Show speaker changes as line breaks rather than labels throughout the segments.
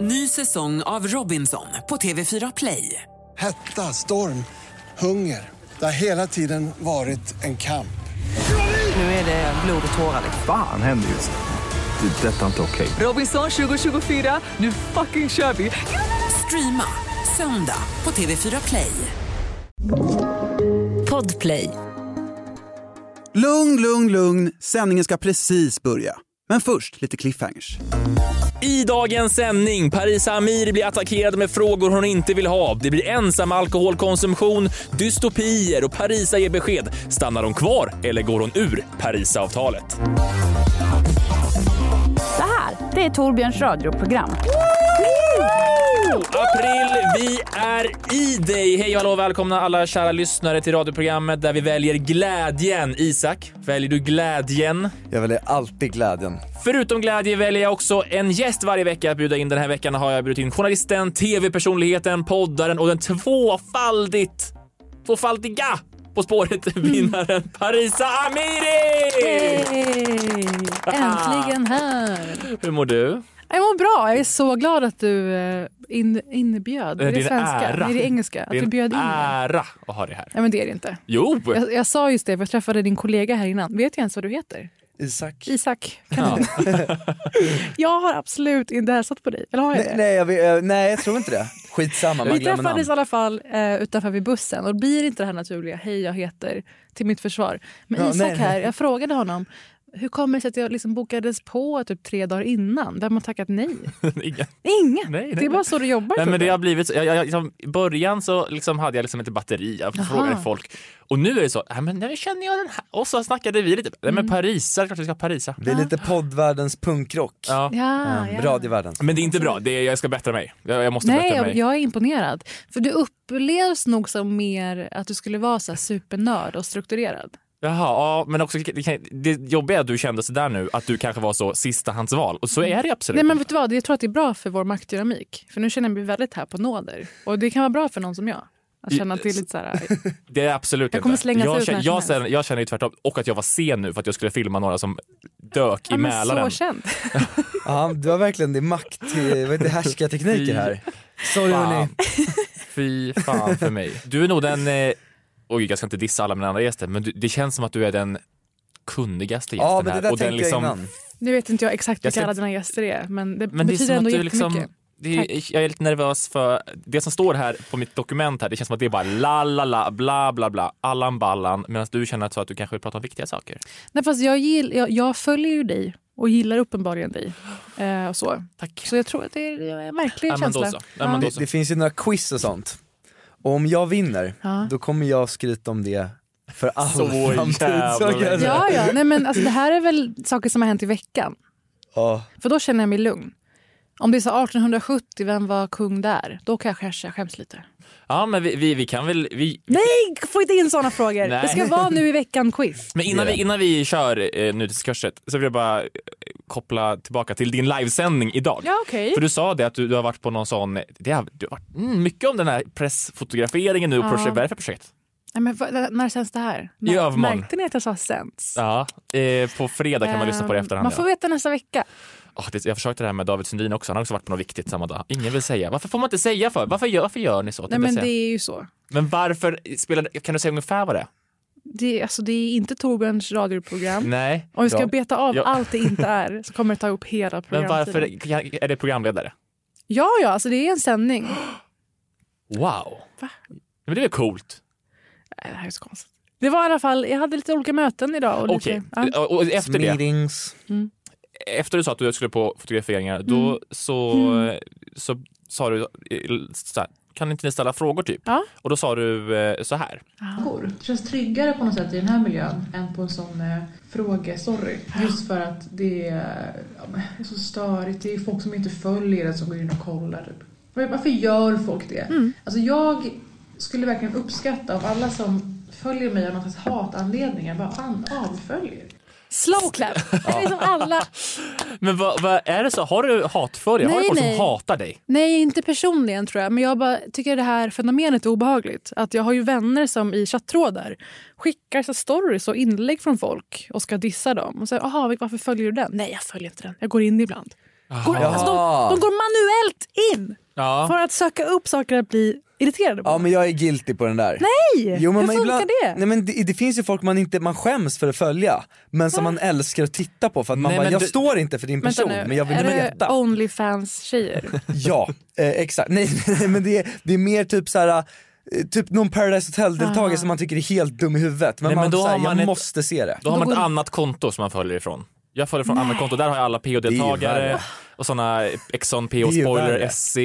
Ny säsong av Robinson på TV4 Play.
Hetta, storm, hunger. Det har hela tiden varit en kamp.
Nu är det blod och tårar. liksom.
Fan händer just nu. Det. är Detta är inte okej.
Robinson 2024, nu fucking kör vi! Streama söndag på TV4 Play.
Podplay.
Lugn, lugn, lugn. Sändningen ska precis börja. Men först lite cliffhangers.
I dagens sändning, Parisa Amir blir attackerad med frågor hon inte vill ha. Det blir ensam alkoholkonsumtion, dystopier och Parisa ger besked. Stannar hon kvar eller går hon ur Parisavtalet?
Det här, det är Torbjörns radioprogram.
April, vi är i dig! Hej och hallå, välkomna alla kära lyssnare till radioprogrammet där vi väljer glädjen. Isak, väljer du glädjen?
Jag väljer alltid glädjen.
Förutom glädje väljer jag också en gäst varje vecka att bjuda in. Den här veckan har jag bjudit in journalisten, tv-personligheten, poddaren och den tvåfaldigt, tvåfaldiga På
Mm.
spåret-vinnaren Parisa Amiri!
Äntligen här!
Hur mår du?
Jag mår bra. Jag är så glad att du eh, in, inbjöd.
Eh,
Är
det är
det
en
svenska?
ära.
Nej, det är engelska. Att
Det är
du bjöd
en
in mig.
ära att ha dig här.
Nej, men det är det inte.
Jo!
Jag, jag sa just det, för jag träffade din kollega här innan. Vet jag ens vad du heter?
Isak?
Isak.
Ja.
Jag har absolut inte hälsat på dig. Eller har jag
Nej,
det?
nej, jag, vet- eh, nej, jag tror inte det. Skitsamma, man
Vi
glömmer namn.
träffades i alla fall eh, utanför vid bussen och det blir inte det här naturliga hej jag heter till mitt försvar. Men
Ja,
Isak
nej.
här, jag frågade honom hur kommer det sig att jag liksom bokades på typ tre dagar innan? Vem har tackat nej?
Ingen-
Ingen!
Nej, nej,
det är
nej.
bara så du
Nej,
jobbar. tror
men det
jag.
har blivit så. Jag, jag, jag, liksom, I början så liksom hade jag liksom inte batteri, jag frågade folk. Och nu är det så, nej, men nu känner jag den här. Och så snackade vi lite, nej men Parisa, Mm. det är klart vi ska ha Parisa.
Det är lite poddvärldens punkrock.
Ja.
Ja,
Mm,
Ah, ja.
Radiovärlden.
Men det är inte bra, det är, jag ska bättra mig. Jag, jag måste
Nej,
bättra
jag,
mig.
jag är imponerad. För du upplevs nog som mer att du skulle vara så här supernörd och strukturerad.
Jaha, ja, men också, det, kan- det jobbiga är att du kände sådär nu, att du kanske var så sistahandsval. Och så är det absolut.
Nej, men vet du vad? Jag tror att det är bra för vår maktdynamik. För nu känner jag mig väldigt här på nåder. Och det kan vara bra för någon som jag. Att känna till lite så här...
Det är absolut
Jag kommer
inte.
slängas
jag,
ut
känner,
när
jag,
som helst.
känner, jag känner ju tvärtom. Och att jag var sen nu för att jag skulle filma några som dök i
Ja, men
Mälaren.
Så känd.
Ja, du har verkligen din makt, eh, vad heter härskartekniker här. Sorry hörni.
Fan. Fy fan för mig. Du är nog den, eh, oj jag ska inte dissa alla mina andra gäster, men du, det känns som att du är den kunnigaste gästen
Ja men det
här.
där
och den
tänkte
liksom-
jag innan.
Nu vet inte jag exakt
Jag
vilka
ska-
alla dina gäster är, men det
Men det är
betyder
som
ändå
att du
jättemycket.
liksom, det är, jag är lite nervös för det som står här på mitt dokument här, det känns som att det är bara la la la, bla bla bla, Allan Ballan, medan du känner att, så att du kanske vill prata om viktiga saker.
Nej, fast jag, gill, jag, jag följer ju dig och gillar uppenbarligen dig. Eh, och så.
Tack.
så jag tror att det är det är en verklig
Ja, men då
känsla.
så. Ja, men då
Det, det finns ju några quiz och sånt. Och om jag vinner,
Ja.
då kommer jag skryta om det för all
Så
framtid.
jävla
kan jag
länge.
säga.
Ja, ja. Nej, men alltså, det här är väl saker som har hänt i veckan.
Ja.
För då känner jag mig lugn. Om det är så 1870, vem var kung där? Då kanske jag jag skäms lite.
Ja, men vi, vi, vi kan väl... Vi,
Nej, få inte in sådana frågor!
Nej.
Det ska vara nu i veckan-quiz.
men innan vi, innan vi kör eh, nutidskurset så vill jag bara eh, koppla tillbaka till din livesändning idag.
Ja, okej.
För du sa det att du, du har varit på någon sån... Det har, du har varit mm, mycket om den här pressfotograferingen nu.
Ja.
Projekt, vad är det för projekt?
Nej, men, vad- när sänds det här?
I övermorgon.
Märkte ni att jag sa sänds?
Ja, eh, på fredag kan man lyssna på det i
Ehm,
efterhand.
Man
ja.
får veta nästa vecka.
Ah, det, jag försökte det här med David Sundin också. Han har också varit på något viktigt samma dag. Ingen vill säga. Varför får man inte säga för? Varför gör, varför gör ni så?
Nej,
tänkte jag
men
säga.
det är ju så.
men varför spelar Kan du säga ungefär vad det är?
Det, är- alltså, det är inte Torbjörns radioprogram.
Nej.
Om vi ska
Ja.
beta av
Ja.
allt det inte är så kommer det ta upp hela
Men
programtiden.
varför är det programledare?
Ja, ja, alltså det är en sändning. Nej,
Wow. Men det är väl coolt?
det här är så konstigt. Det var i alla fall, jag hade lite olika möten idag. Och
Okej.
lite, ja.
Och- Och efter det,
Meetings.
efter du sa att du skulle på fotograferingar, då
Mm.
så, så sa du eh, så här, kan inte ni ställa frågor typ?
Ja.
Och då sa du eh, så här.
frågor. Det känns tryggare på något sätt i den här miljön än på en sån eh, frågesorry. Just för att det är, ja, men, det är så störigt. Det är folk som inte följer det som går in och kollar. Typ. Var- Varför gör folk det?
Mm.
Alltså jag skulle verkligen uppskatta av alla som följer mig av någon slags hatanledningar bara an- avföljer.
Slow clap! Det är som alla.
Men vad, vad är det så? Har du hatföljare? Har du
Nej,
folk
nej.
som hatar dig?
Nej, inte personligen tror jag, men jag bara tycker det här fenomenet är obehagligt. Att jag har ju vänner som i chattrådar skickar så stories och inlägg från folk och ska dissa dem. Och säger, aha, varför följer du den? Nej, jag följer inte den. Jag går in ibland. Går, alltså, de,
Jaha.
de går manuellt in
Ja.
för att söka upp saker att bli irriterade på.
Ja men jag är guilty på den där.
Nej!
Jo, men
Hur
man
funkar
ibland,
det?
Nej, men det? Det finns ju folk man, inte, man skäms för att följa, men som man älskar att titta på för att man
Nej,
bara,
men
jag
du-
står inte för din person men jag vill
är
veta.
det Onlyfans-tjejer?
Ja, eh, exakt. Nej, nej, nej, men det är, det är mer typ så här. eh, Typ någon Paradise
Ah.
Hotel-deltagare som man tycker är helt dum i huvudet. Men,
Nej,
man,
men då
så här,
har man
jag
ett-
måste se det.
Då har man
Då
ett
går-
annat konto som man följer ifrån. Jag följer från annat konto, där har jag alla
Det är ju
PO-deltagare
värre.
och såna Exxon PO
Det är ju
Spoiler
värre.
SC.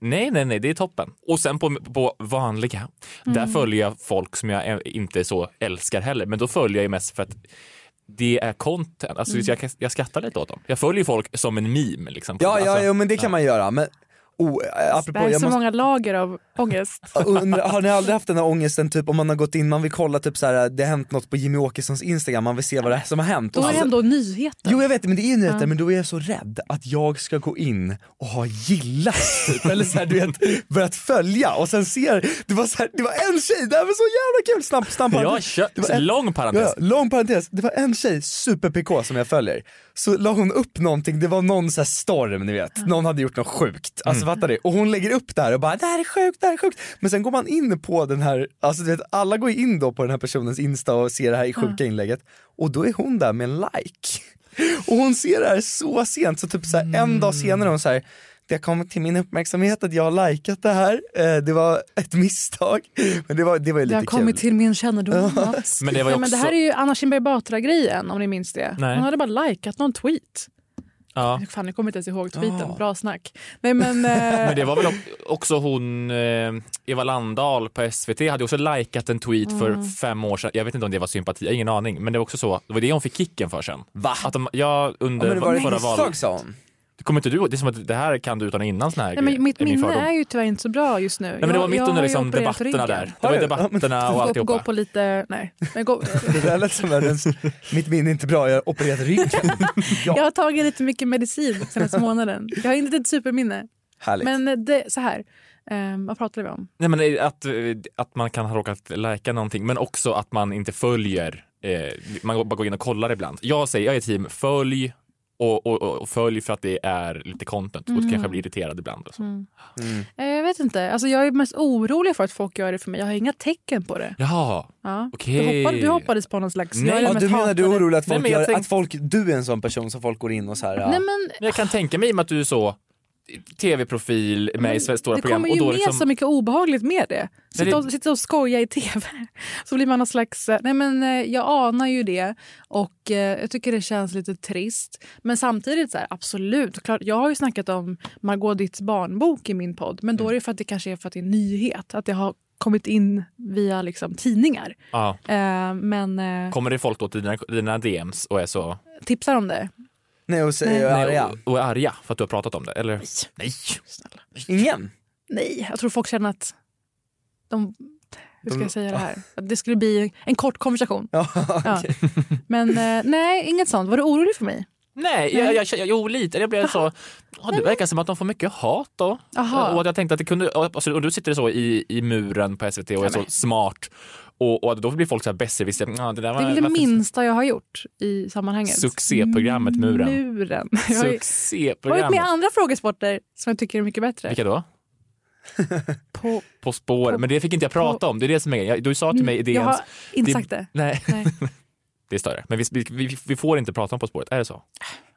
Nej, nej, nej, det är toppen. Och sen på, på vanliga, där
Mm.
följer jag folk som jag eh, inte så älskar heller, men då följer jag ju mest för att det är content,
Mm.
alltså jag, kan- jag skrattar lite åt dem. Jag följer ju folk som en meme. Liksom.
Ja,
alltså,
ja, ja, men det kan man göra. Men, oh, eh,
Det
apropå,
här är
jag
så
måste,
många lager av ångest.
undra, har ni aldrig haft den här ångesten typ om man har gått in, man vill kolla typ så här, det har hänt något på Jimmy Åkessons Instagram, man vill se vad det är som har hänt.
Då
Och
är det
så-
ändå nyheter.
Jo jag vet men det är ju nyheter men då är jag så rädd att jag ska gå in och ha gillat typ. eller så här, du vet börjat följa och sen ser, det var, så här, det var en tjej, det här var så jävla kul, snabb, snabb
Jag har
parentes. Det var
kört,
en-
lång parentes.
Ja, lång parentes, det var en tjej, super-PK som jag följer, så la hon upp någonting, det var någon så här storm ni vet, någon hade gjort något sjukt, alltså
Mm.
fattar du? Och hon lägger upp det här och bara det här är sjukt, det här är sjukt. Men sen går man in på den här, alltså du vet alla går in då på den här personens Insta och ser det här i sjuka inlägget och då är hon där med en like. Och hon ser det här så sent, så typ så här, en dag senare är hon så här det har kommit till min uppmärksamhet att jag har likat det här, eh, det var ett misstag. Men det var, det var ju
Det
lite
har kommit
kul.
till min kännedom. Mats.
Men det var ju
Ja, men det
också-
här är ju Anna Kinberg Batra-grejen om ni minns det.
Nej.
Hon hade bara likat någon tweet.
Ja.
Fan, jag kommer inte ens ihåg tweeten. Bra snack. Nej, men, eh,
Ah. Men det var väl o- också hon, eh, Eva Landahl på SVT, hade också likat en tweet
Mm.
för fem år sedan. Jag vet inte om det var sympati, jag har ingen aning. Men det var också så, det var det hon fick kicken för sen.
Va?
Att de, jag
Ja,
under
men det var ett
förra
misstag
valet.
sa hon.
Kommer inte du ihåg? Det är som att det här kan du utan och innan såna här
nej, men mitt
är min
minne
fördom.
är ju tyvärr inte så bra just nu.
Nej, men det var
Jag-
mitt
jag
under
har ju
liksom
opererat
debatterna
ryggen.
där. Det var ju
Har du?
debatterna och
Gå, på- gå
alltihopa.
på lite... Nej. Men gå,
Det där lät som världens, mitt minne är inte bra, jag har opererat ryggen.
jag
Ja,
har tagit lite mycket medicin senaste månaden. Jag har inte ett superminne.
härligt.
Men det, så här, ehm, vad pratade vi om?
Nej, men eh, att, eh, att man kan ha råkat lika någonting, men också att man inte följer. Eh, man går- bara går in och kollar ibland. Jag säger, jag är team följ och, och, och, och följ för att det är lite content
Mm.
och kanske blir irriterad ibland. Och så.
Eh, jag vet inte. Alltså, jag är mest orolig för att folk gör det för mig. Jag har inga tecken på det.
Jaha,
Ja.
Okej.
Du, hoppade, du hoppades på någon slags...
Nej.
jag är
ja,
mest
du menar du är
hatade.
orolig att
Nej,
folk,
men jag
gör,
tänk-
att folk, du är en sån person som folk går in och så här. ja.
Nej, men,
Men jag kan tänka mig i och med att du är så tv-profil med i stora
det
program.
kommer ju
och då
med
liksom,
så mycket obehagligt med det. Sitta,
det-
Och, sitta och skoja i tv. Så blir man någon slags... eh, Nej men eh, jag anar ju det och eh, jag tycker det känns lite trist. Men samtidigt så här, absolut. Klart, jag har ju snackat om Margot Ditts barnbok i min podd. Men
Mm.
då är det för att det kanske är för att det är en nyhet. Att det har kommit in via liksom, tidningar.
ja,
Eh, men eh,
kommer det folk då till dina, dina DMs och är så
tipsar om det.
Nej och säger jag är
nej,
arga.
och, och är arga för att du har pratat om det? Eller? Nej.
Snälla.
Ingen?
Nej, jag tror folk känner att de... Hur ska jag säga det här? Att det skulle bli en kort konversation.
Ja,
Ja. Men eh, nej, inget sånt. Var du orolig för mig?
Nej, jag, jag, jag, jo lite. Jag blev så, ja, det verkar som att de får mycket hat då.
Aha.
Och att jag tänkte att det kunde, alltså, och du sitter så i, i muren på SVT och är så smart. Och, och då blir folk så här besserwisser. Ja, det, där var,
Det är väl det
varför-
minsta jag har gjort i sammanhanget.
Succéprogrammet Muren.
Muren. Mm, Jag har ju varit med i
Succéprogrammet.
andra frågesporter som jag tycker är mycket bättre.
Vilka då?
På, Mm,
På spår. Men det fick inte jag prata om. Det är det som är jag, Du sa till mig i DMs.
jag har inte
det-
sagt det.
Nej.
Nej.
Det är större. Men vi, vi, vi, vi får inte prata om På spåret. Är det så?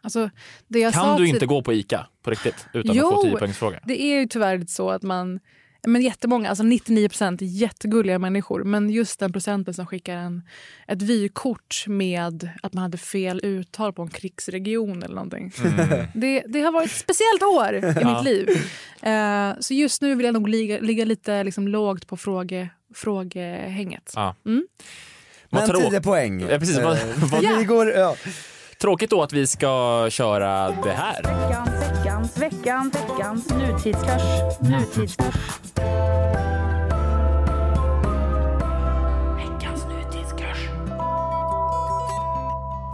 Alltså, det jag
kan
sa
du
till-
inte gå på ICA på riktigt utan
Jo.
att få 10 poängsfråga?
Det är ju tyvärr lite så att man... Men jättemånga, alltså 99 procent är jättegulliga människor. Men just den procenten som skickar en, ett vykort med att man hade fel uttal på en krigsregion eller någonting. Det, det har varit ett speciellt år i mitt liv. Eh, så just nu vill jag nog ligga, ligga lite liksom lågt på fråge, frågehänget.
Ja. Vad
men
trå-
10 poäng.
Ja, precis. Vad-
Eh,
vad-
vi går, ja.
Tråkigt då att vi ska köra det här.
Veckans, veckans, veckans, veckans nutidskurs. Nutidskurs. Veckans nutidskurs.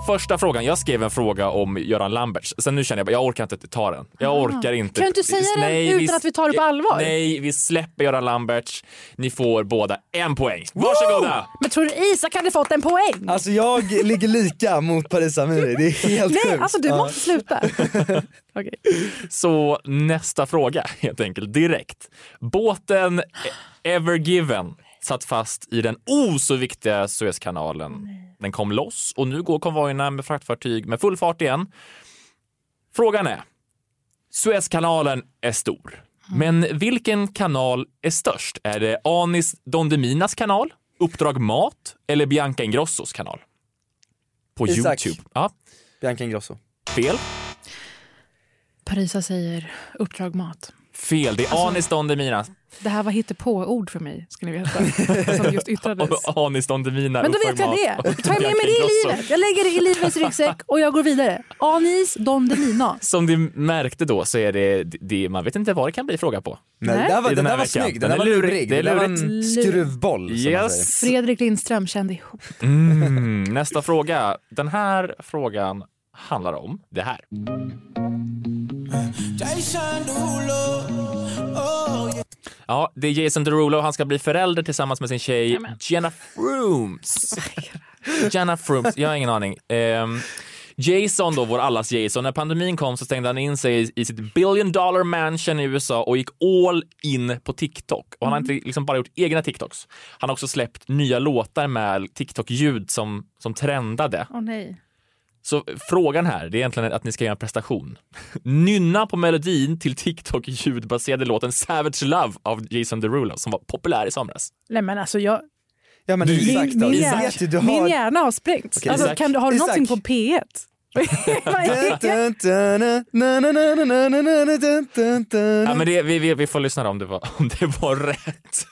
första frågan, jag skrev en fråga om Göran Lamberts. Sen nu känner jag bara, jag orkar inte ta den. Jag orkar inte.
Kan du inte säga den utan att vi tar det på allvar?
Nej, vi släpper Göran Lamberts. Ni får båda en poäng. Varsågoda!
Men tror du Isak hade fått en poäng?
Alltså jag ligger lika mot Paris Amiri, det är helt
Nej,
sjukt.
alltså du
Ja.
måste sluta. Okej.
Så nästa fråga helt enkelt direkt. Båten Ever Given satt fast i den o så viktiga Suezkanalen. Den kom loss och nu går konvojerna med fraktfartyg med full fart igen. Frågan är, Suezkanalen är stor. Men vilken kanal är störst? Är det Anis Don Deminas kanal, Uppdrag Mat eller Bianca Ingrossos kanal? På
Isak.
Youtube. Ja,
Bianca Ingrosso.
fel.
Parisa säger uppdrag mat.
Fel. Det är Anis Don Deminas.
Det här var hittepå-ord för mig, ska ni veta, som just yttrades.
Och Anis Don Demina.
Men då vet jag det. Då tar jag med mig det i livet. Jag lägger det i livets ryggsäck och jag går vidare. Anis Don Demina.
Som du märkte då så är det, det man vet inte vad det kan bli fråga på.
Nej, det där var, den
I den
där
här
var
veckan.
snygg, den
Den
där
är
var
lurig.
lurig.
Det är
Det var
lurigt.
en skruvboll som man säger.
Yes.
Fredrik Lindström kände ihop.
Mm, nästa fråga. Den här frågan handlar om det här. Ja, det är Jason Derulo. Han ska bli förälder tillsammans med sin tjej Jenna Frooms. Jenna Frooms, jag har ingen aning. Ehm, Jason då, vår allas Jason, när pandemin kom så stängde han in sig i- i sitt billion dollar mansion i USA och gick all in på TikTok. Och han har inte liksom bara gjort egna TikToks. Han har också släppt nya låtar med TikTok-ljud som, som trendade.
Åh nej.
Så frågan här, det är egentligen att ni ska göra en prestation. Nynna på melodin till TikTok-ljudbaserade låten Savage Love av Jason Derulo som var populär i somras.
Nej men alltså jag,
Ja men Isak då,
min,
du
hjärna,
vet ju du
min
har...
hjärna har sprängts.
Okej,
alltså,
Isak.
kan du, har du
Isak.
någonting på P1? Vad är det?
Dun, dun, dun, na, na, na, na, na, na, na, na, dun, dun, dun.
Ja, men det, vi, vi, vi får lyssna om det var, om det var rätt.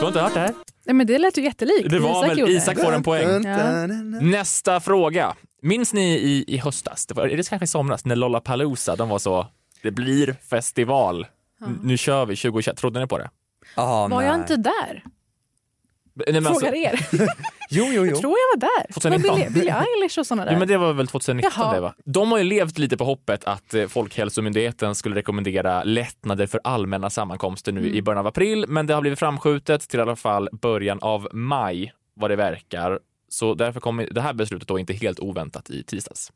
Du har inte hört det här?
Nej, men det lät ju jättelikt.
Det var
Isak
väl
gjorde.
Isak får en poäng.
Dun, dun, dun, dun.
Nästa fråga. Minns ni i, i höstas, det var, är det kanske i somras, när Lollapalooza, de var så, det blir festival. N- Nu kör vi 2021, trodde ni på det?
Ah,
Var jag
nej.
inte där?
Nej, men alltså-
Frågar er.
Jo, jo,
Jag
jo.
tror jag var där.
2019.
Billie, Billie Eilish och såna där.
Ja, men det var väl 2019
Jaha.
det va? De har ju levt lite på hoppet att eh, Folkhälsomyndigheten skulle rekommendera lättnader för allmänna sammankomster nu
Mm.
i början av april, men det har blivit framskjutet till i alla fall början av maj vad det verkar. Så därför kommer det här beslutet då inte helt oväntat i tisdags.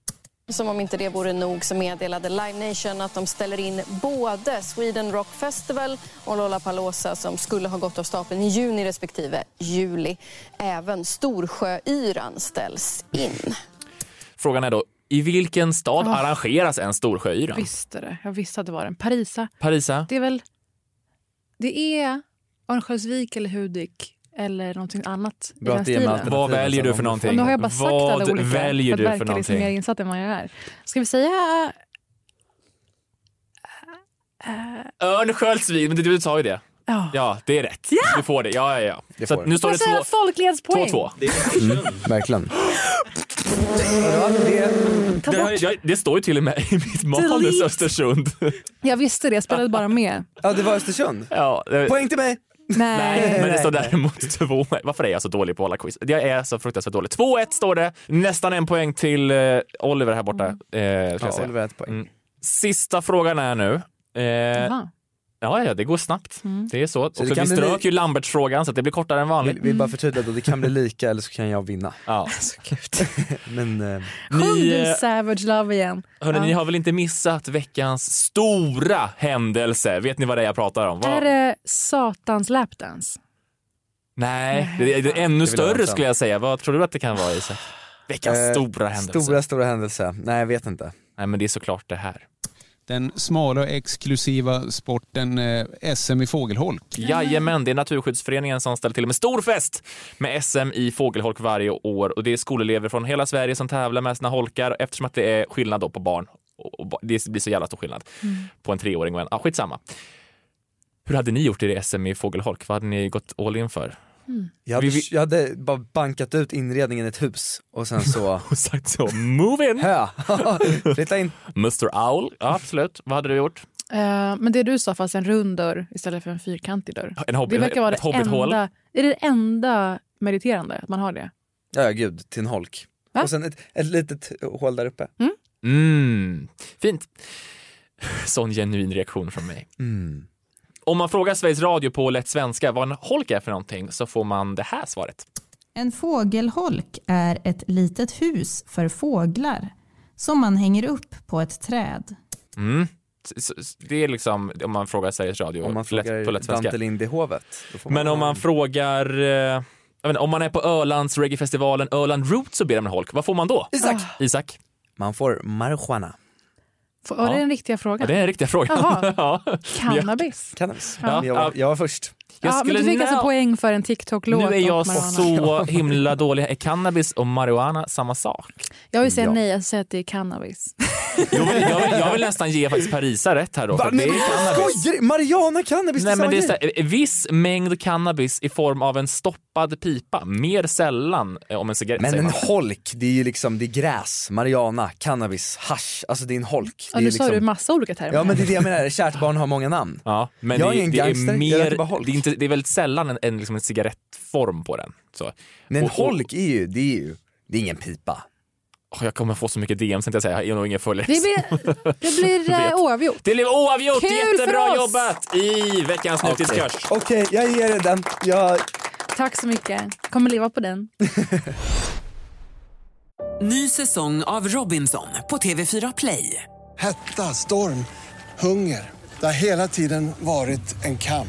Som om inte det vore nog så meddelade Live Nation att de ställer in både Sweden Rock Festival och Lollapalooza som skulle ha gått av stapeln i juni respektive juli. Även Storsjöyran ställs in.
Frågan är då, i vilken stad
Ah.
arrangeras en Storsjöyra?
visste det. Jag visste att det var den. Parisa.
Parisa?
Det är väl... Det är Örnsköldsvik eller Hudik eller någonting annat i
Bra
den
att det är med
stilen.
alternativ.
Vad väljer du för
Ja,
någonting?
nu har jag bara sagt alla
Vad
olika
väljer
för
du för
att verka liksom
någonting?
mer insatt än vad jag är. Ska vi säga...
Örnsköldsvik, men det- du sa ju det.
Ja.
Ja, det är rätt. Du får det. Ja, ja, ja.
Det
Så
får
att
du.
nu står
Jag säger
det
att folk leds poäng.
2-2.
Verkligen. Ja, det-
Ta
Det, har-
bort.
jag, det står ju till och med i mitt manus
Delete.
Östersund.
Jag visste det, jag spelade bara med.
Ja, det var Östersund.
Ja, det,
Poäng till mig!
Nej,
Nej.
men det står däremot två. Varför är jag så dålig på alla quiz? Jag är så fruktansvärt dålig. 2-1 står det. Nästan en poäng till eh, Oliver här borta. Eh, ska
Ja,
jag säga.
Oliver har ett poäng.
Mm. Sista frågan är nu. Eh,
Jaha.
ja, ja, det går snabbt. Det är så.
Så
och
det
så
kan
vi
bli
strök
li-
ju Lambertsfrågan så att det blir kortare än vanligt.
Vill, vill bara förtydliga då, det kan bli lika eller så kan jag vinna.
Ja.
Men eh,
Sjung
Ni,
du
eh,
Savage Love igen.
hörni,
Ja.
ni har väl inte missat veckans stora händelse? Vet ni vad det är jag pratar om? Vad-
Är det Satans lapdance?
Nej, det är, det är ännu
Det vill jag
större
också.
skulle jag säga. Vad tror du att det kan vara Isak? Veckans
Eh,
stora händelse.
stora, stora händelse. Nej, jag vet inte.
Nej, men det är såklart det här.
Den smala och exklusiva sporten eh, SM i fågelholk.
Jajamän, det är Naturskyddsföreningen som ställer till med stor fest med SM i fågelholk varje år och det är skolelever från hela Sverige som tävlar med sina holkar eftersom att det är skillnad då på barn. Och, och, ba- det blir så jävla stor skillnad på en treåring och en, ah, skitsamma. Hur hade ni gjort i det SM i fågelholk? Vad hade ni gått all in för?
Jag hade,
Vi- vi-
jag hade bara bankat ut inredningen i ett hus och sen så,
Och sagt så, move in!
hö, flytta in.
Mr Owl, ja, absolut. Vad hade du gjort?
Eh, men det du sa fanns en rund dörr istället för en fyrkantig dörr.
En hobby-
det verkar vara
ett
det
hobbithål.
enda, är det det enda meriterande att man har det.
Ja, ja, gud, till en holk.
Va?
Och sen ett, ett litet hål där uppe.
Mm, fint. Sån genuin reaktion från mig. Mm. Om man frågar Sveriges Radio på lätt svenska vad en holk är för någonting så får man det här svaret.
En fågelholk är ett litet hus för fåglar som man hänger upp på ett träd.
Mm. S- s- Det är liksom om man frågar Sveriges Radio
Om man
lätt, på lätt
frågar
svenska.
Dante Lind i hovet. då får
Men om man frågar, eh, jag vet inte, om man är på Ölands reggaefestivalen Öland Roots och ber om en holk, vad får man då?
Isak.
Isak.
Man får marijuana.
Får, Var
Ja.
det den riktiga frågan?
Ja, det är den riktiga frågan.
Jaha.
ja.
Cannabis.
Cannabis.
Ja.
Jag, var, jag var först.
Ja, men du fick alltså poäng för en TikTok-låt.
nu är jag
och marijuana.
så himla dålig. Är cannabis och marijuana samma sak?
Jag vill säga
Ja.
nej, jag säger att det är cannabis.
Jag vill, jag, vill, jag vill nästan ge faktiskt Parisa rätt här då. För
Va,
att det
nej,
är
men
cannabis.
skojar du? Marijuana cannabis,
Nej,
samma
men det är
grej.
så här, eh, viss mängd cannabis i form av en stoppad pipa, mer sällan eh, om en cigarett
Men
säger
en
man.
holk, det är ju liksom det är gräs, marijuana, cannabis, hasch. Alltså det är en holk. det
Ja,
är
nu
liksom...
sa du massa olika termer.
Ja men det är det jag menar, kärt barn har många namn.
Ja, men
jag
det,
är ingen
det
gangster,
är
jag röker
mer,
bara holk.
det, är inte, det är väldigt sällan en, en, liksom en cigarettform på den. Så.
Men en holk är ju, det är ju, det är ingen pipa.
Åh, jag kommer få så mycket DM sen jag säger, jag är nog ingen följare.
Det blir, det blir eh,
Vet.
oavgjort.
Det blev oavgjort!
Kul för
Jättebra
oss!
jobbat i veckans nutidskurs.
Okej, jag ger dig den. Jag...
Tack så mycket. Kommer leva på den.
Ny säsong av Robinson på TV4 Play.
Hetta, storm, hunger. Det har hela tiden varit en kamp.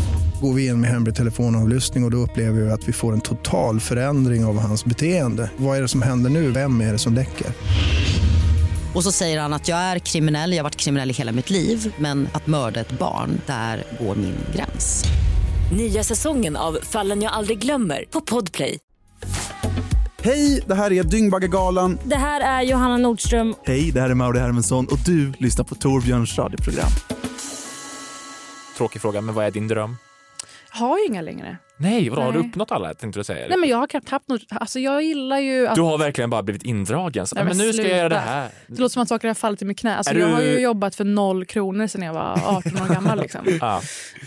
Går vi in med hemlig telefonavlyssning och, och då upplever vi att vi får en total förändring av hans beteende. Vad är det som händer nu? Vem är det som läcker?
Och så säger han att jag är kriminell, jag har varit kriminell i hela mitt liv men att mörda ett barn, där går min gräns.
Nya säsongen av Fallen jag aldrig glömmer på Podplay.
Hej, det här är Dyngbaggegalan.
Det här är Johanna Nordström.
Hej, det här är Mauri Hermansson och du lyssnar på Torbjörns radioprogram.
Tråkig fråga, men vad är din dröm?
Jag har ju inga längre.
Nej, vadå, har du
Nej.
uppnått alla tänkte du säga?
Nej, men jag har knappt haft något. Alltså, jag gillar ju att...
Du har verkligen bara blivit indragen. Så,
Nej,
"Ja, men
men
nu ska jag göra det
sluta."
här.
Det låter som att saker har fallit i mitt knä. Alltså,
Är
jag har
du-
ju jobbat för noll kronor sedan jag var 18 år gammal. Liksom.
Ja.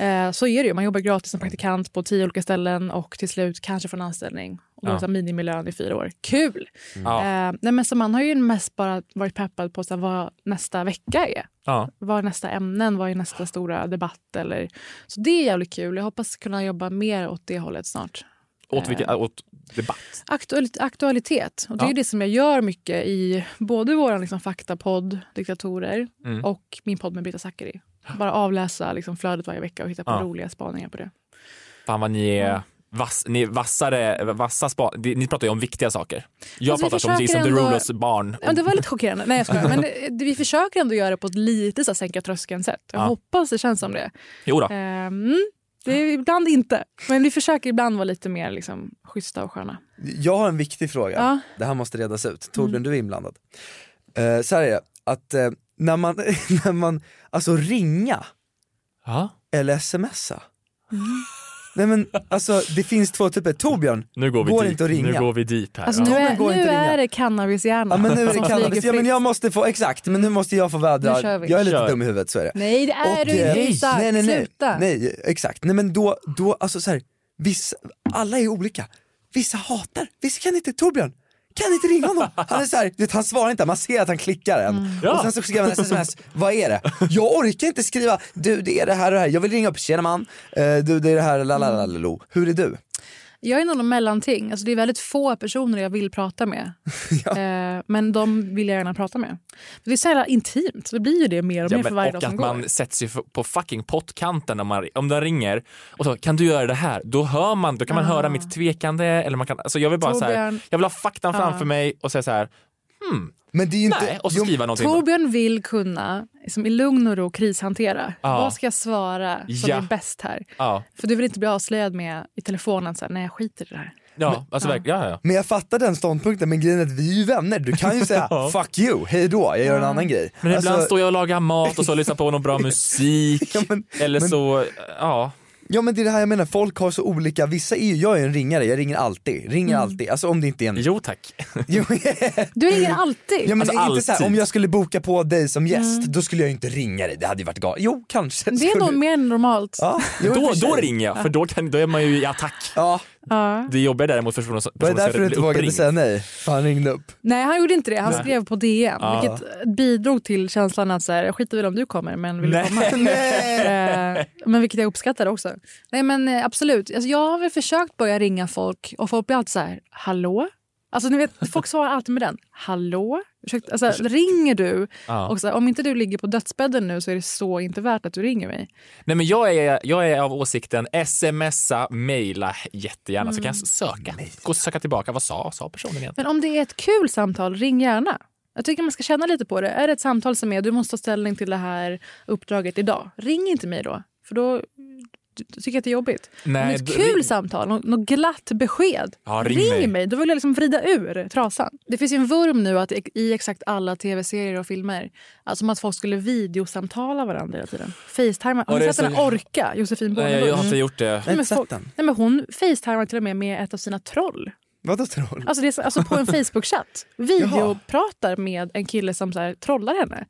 Eh, så är det ju. Man jobbar gratis som praktikant på tio olika ställen och till slut kanske får en anställning. Och då
Ja.
ja. minimilön i fyra år. Kul!
Mm.
Ja.
Eh, nej, men så man har ju mest bara varit peppad på så här, vad nästa vecka är.
Ja.
Vad är nästa ämnen? Vad är nästa stora debatt? Eller... Så det är jävligt kul. Jag hoppas kunna jobba mer åt det hållet snart.
Åt, vilken,
Äh.
Eh,
åt debatt?
Aktualit- aktualitet. Och det
Ja.
är det som jag gör mycket i både vår liksom, faktapodd Diktatorer
Mm.
och min podd med Brita Zackari. Bara avläsa liksom, flödet varje vecka och hitta på
Ja.
roliga spaningar på det.
Fan vad ni är, vass, ni är vassare, vassa spa, ni ni pratar ju om viktiga saker. Jag
Alltså, vi
pratar om
försöker
Jason Derulos
ändå-
barn.
Ja, det var lite chockerande. Nej, jag skojar. Men det, det- vi försöker ändå göra det på ett lite så här, sänka tröskeln-sätt. Jag
Ja.
hoppas det känns som det.
Jo då.
Ehm, det är ibland inte. Men vi försöker ibland vara lite mer liksom, schyssta och sköna.
Jag har en viktig fråga.
Ja.
Det här måste redas ut. Torbjörn,
Mm.
du är inblandad. Uh, så här är det, att eh, när, man, när man, alltså ringa eller smsa.
Mm.
Nej men alltså det finns två typer. Torbjörn,
Nu går vi
går
deep.
inte att ringa.
Nu går vi deep här.
Alltså,
Ja.
nu är,
går
nu
inte att ringa.
är det cannabishjärnan
Ja men nu är det
som
cannabis,
flyger
ja men
fritt.
jag måste få, exakt, men nu måste jag få vädra,
Nu kör vi.
jag är lite
Kör.
dum i huvudet så är det.
Nej, det är
Och,
du inte,
eh,
Isak.
nej, nej, nej,
Sluta.
Nej, exakt. Nej men då, då alltså så här, vissa, alla är olika. Vissa hatar, vissa kan inte, Torbjörn kan inte ringa honom. Han är så här, du vet, han svarar inte, man ser att han klickar en.
Mm.
Och sen så skriver han ett sms, vad är det? Jag orkar inte skriva, du det är det här och det här, jag vill ringa upp, tjena man, Eh, du det är det här, lalalalo, hur är du?
Jag är någon mellanting. Alltså, det är väldigt få personer jag vill prata med. Eh, men de vill jag gärna prata med. Det är så jävla intimt. Det blir ju det mer och
Ja,
mer
men,
för varje dag
och att
som
man
går.
sätter sig på fucking pottkanten när man, om den ringer och så kan du göra det här? Då hör man, då kan man
Ah.
höra mitt tvekande eller man kan, alltså jag vill bara så här,
Torbjörn.
jag vill ha faktan
Ah.
framför mig och säga så här, hmm,
men det är
inte, nej, och så skriva någonting.
Torbjörn vill kunna liksom, i lugn och ro krishantera.
Ja.
Vad ska jag svara som
Ja.
är bäst här?
Ja.
För du vill inte bli avslöjad med i telefonen så här, nej jag skiter i det här.
Ja, alltså verkligen. Ja, ja, ja.
Men jag fattar den ståndpunkten, men grejen är att vi är ju vänner. Du kan ju säga
Ja.
fuck you, hej då, jag gör en
Ja.
annan grej.
Men ibland
Alltså-
står jag och lagar mat och så lyssnar på någon bra musik. eller
men-
så, ja.
Ja men det är det här jag menar, folk har så olika, vissa är ju, jag är en ringare, jag ringer alltid, ringer
Mm.
alltid, alltså om det inte är en...
Jo tack.
Du ringer alltid. Alltså,
Ja, men
Alltså,
inte så här, om jag skulle boka på dig
Mm.
som gäst, då skulle jag ju inte ringa dig, det hade ju varit galet. Jo, kanske.
Det är
skulle...
nog mer än normalt.
Ja, jo, i och
Då,
för sig.
då ringer jag, för då, kan, då är man ju i attack.
Ja.
Ja.
Det jobbar däremot för personer som
Var det
personer som
därför du inte
blir
vågade
uppringd.
säga nej? Han ringde upp.
Nej, han gjorde inte det. Han
Nej.
skrev på DN,
Ja.
vilket bidrog till känslan att så här, jag skiter väl om du kommer, men vill
Nej.
du komma?
Nej.
Eh, men vilket jag uppskattade också. Nej, men eh, absolut. Alltså, jag har väl försökt börja ringa folk och folk blir alltid så här, hallå? Alltså ni vet, folk svarar alltid med den, hallå? Ursäkta, alltså, ringer du?
Ja.
Och så här, om inte du ligger på dödsbädden nu så är det så inte värt att du ringer mig.
Nej, men jag, är, jag är av åsikten smsa, mejla jättegärna så kan jag söka. Gå och söka tillbaka. Vad sa, sa personen egentligen?
Men om det är ett kul samtal, ring gärna. Jag tycker man ska känna lite på det. Är det ett samtal som är du måste ta ställning till det här uppdraget idag, ring inte mig då. För då då tycker jag att det är jobbigt.
Nej,
om det är ett
då-
kul
ring-
samtal, nå- något glatt besked,
Ja, ring mig.
Då vill jag liksom vrida ur trasan. Det finns ju en vurm nu att i- i exakt alla tv-serier och filmer, alltså som att folk skulle videosamtala varandra hela tiden. Facetimea.
Ja,
Har
det
ni
är
sett den
så-
här Orka, Josefin
Nej,
Bornebusch?
jag har inte gjort det.
Nej, men, folk, nej, men hon facetimar till och med med ett av sina troll.
Vadå troll?
Alltså, det är, så- alltså på en Facebook-chatt. Videopratar med en kille som så här, trollar henne.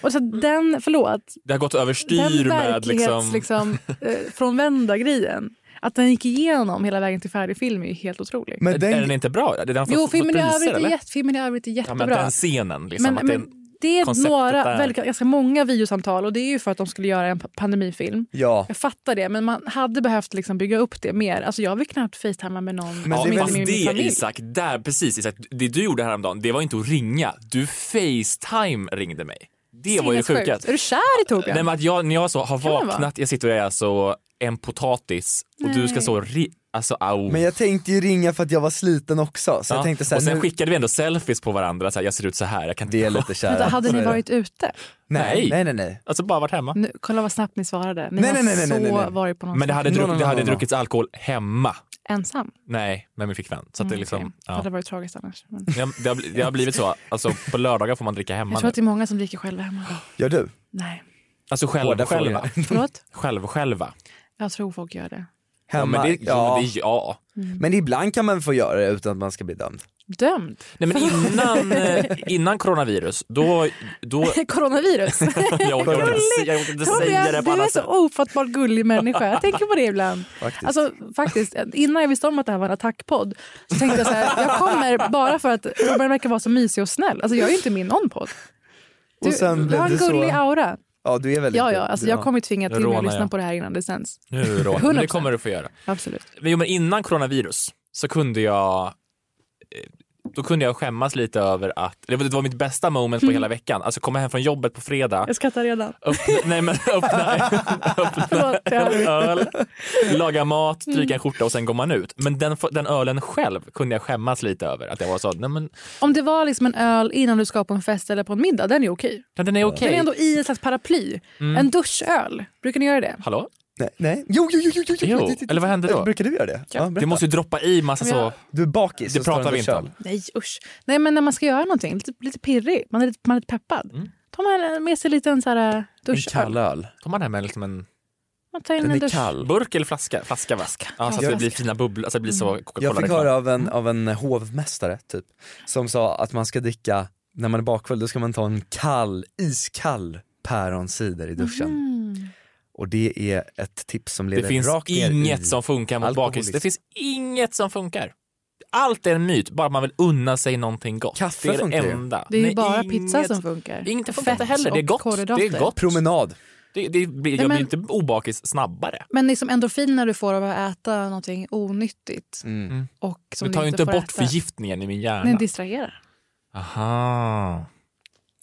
Och så att den, förlåt,
Det har gått överstyr
den
med
verklighets
liksom...
Mm. liksom, eh, frånvända grejen. Att den gick igenom hela vägen till färdig film är ju helt otrolig.
Men Är den inte bra? Är Den fått-
jo,
fått
filmen i,
priser,
övrigt är
eller?
jätte, filmen i övrigt är
Ja,
jättebra.
men den scenen liksom.
Men-
att det är
men
en-
det är
konceptet
några,
där.
väldigt, ganska många videosamtal och det är ju för att de skulle göra en pa- pandemifilm.
Ja.
Jag fattar det, men man hade behövt liksom bygga upp det mer. Alltså jag vill knappt facetima med någon
ja,
som är
fast
med
det
min familj.
Isak, där, precis Isak, det du gjorde häromdagen, det var inte att ringa. Du Facetime ringde mig. Det var ju det
Sinnessjukt.
sjuka.
Är du kär i Torbjörn?
Nej, men att jag, när jag så har
Kan man vara?
vaknat, jag sitter och är så en potatis och du
Nej.
ska så ri- Alltså, au.
Men jag tänkte ju ringa för att jag var sliten också, så
Ja,
jag tänkte så här,
och sen
nu...
skickade vi ändå selfies på varandra. Så här, jag ser ut så här. Jag kan Eh, det
är lite
Vänta, hade ni varit ute?
Nej.
Nej, nej, nej.
Alltså bara varit hemma.
Nu, kolla vad snabbt ni svarade. Ni
Nej,
har
nej, nej, nej,
så
nej, nej.
varit på någon
Men det hade,
sån-
druck, det hade druckits alkohol hemma.
Ensam?
Nej, med min flickvän. Så att det,
Mm,
liksom,
okej. Det
ja.
hade varit tragiskt annars. Men...
det, har, det, har, bli- det har blivit så. Alltså, på lördagar får man dricka hemma
Jag tror att det är många som dricker själva hemma.
Gör du?
Nej,
Alltså själv,
Båda
själva.
frågorna.
Förlåt?
Själv, själva.
jag tror folk gör det.
Hemma,
Ja, men det- ja, men det- ja.
Mm.
Men ibland kan man få göra det utan att man ska bli dömd.
Dömd?
Nej, men innan, eh, innan coronavirus, då... då
Coronavirus?
jag orkar inte- jag orkar inte säga det
Torbjörn,
på
du är
annat sätt.
så ofattbart gullig människa. Jag tänker på det ibland.
Faktiskt.
Alltså, faktiskt, innan jag visste om att det här var en attackpodd så tänkte jag så här, jag kommer bara för att Torbjörn verkar vara så mysig och snäll. Alltså, jag är ju inte med i någon podd. Du,
Och sen
du
blev
har
det
en
så-
gullig aura.
Ja, du är väldigt
Ja, ja, alltså, jag kommer ju tvinga
Jag
till mig
rånar,
att lyssna
ja.
på det här innan det sänds.
Nu då, men det
100%.
kommer du få göra.
Absolut.
Men, jo, men innan coronavirus så kunde jag eh, då kunde jag skämmas lite över att, det var, det var mitt bästa moment på
Mm.
hela veckan, alltså komma hem från jobbet på fredag,
Jag skrattar redan.
öppna, nej men öppna, öppna en öl, laga mat,
Mm.
stryka en skjorta och sen går man ut. Men den, den ölen själv kunde jag skämmas lite över att jag var så, nej men
Om det var liksom en öl innan du ska på en fest eller på en middag, den är okej.
Ja, den är okej.
Den är ändå i ett slags paraply.
Mm.
En duschöl, brukar ni göra det?
hallå?
Nej, nej. Jo, jo, jo, jo, jo, Eh,
Jo, eller vad hände då?
Brukar du göra det? Ja, berätta.
Det måste ju droppa i massa
Om jag-
så.
Du är bakis.
Det
och står
pratar
under
vi inte
köl.
om.
Nej usch. Nej men när man ska göra någonting, lite, lite pirrig, man är lite, man är lite peppad.
Mm.
Tar man med sig en liten så här, eh, duschöl.
öl. Tar man hem en, liksom en
Man tar in en dusch.
Burk eller flaska? Flaska, va? Ja, så att
Ja,
det blir
flaska.
fina bubblor, alltså det blir så
Jag fick
Coca-Cola-reklam.
höra av en, av en hovmästare typ, som sa att man ska dricka, när man är bakfull, då ska man ta en kall, iskall päronsider i duschen.
Mm.
Och det är ett tips som leder
Det finns
rakt ner i
inget som funkar mot
alkoholism.
bakis. Det finns inget som funkar. Allt är en myt, bara man vill unna sig någonting gott.
Kaffe
det är
funkar ju.
det enda.
Det är ju
Nej,
bara
inget-
pizza som funkar.
Inget
Och
funkar inte
fett
heller. Det är
och
gott.
kolhydrater.
Det är gott.
Promenad.
Det, det blir, jag
Nej, men-
blir inte obakis snabbare.
Men liksom endorfiner du får av att äta någonting onyttigt.
Mm.
Och som
det tar
du
ju
inte
inte
får
bort
äta.
förgiftningen i min hjärna.
Den distraherar.
Aha.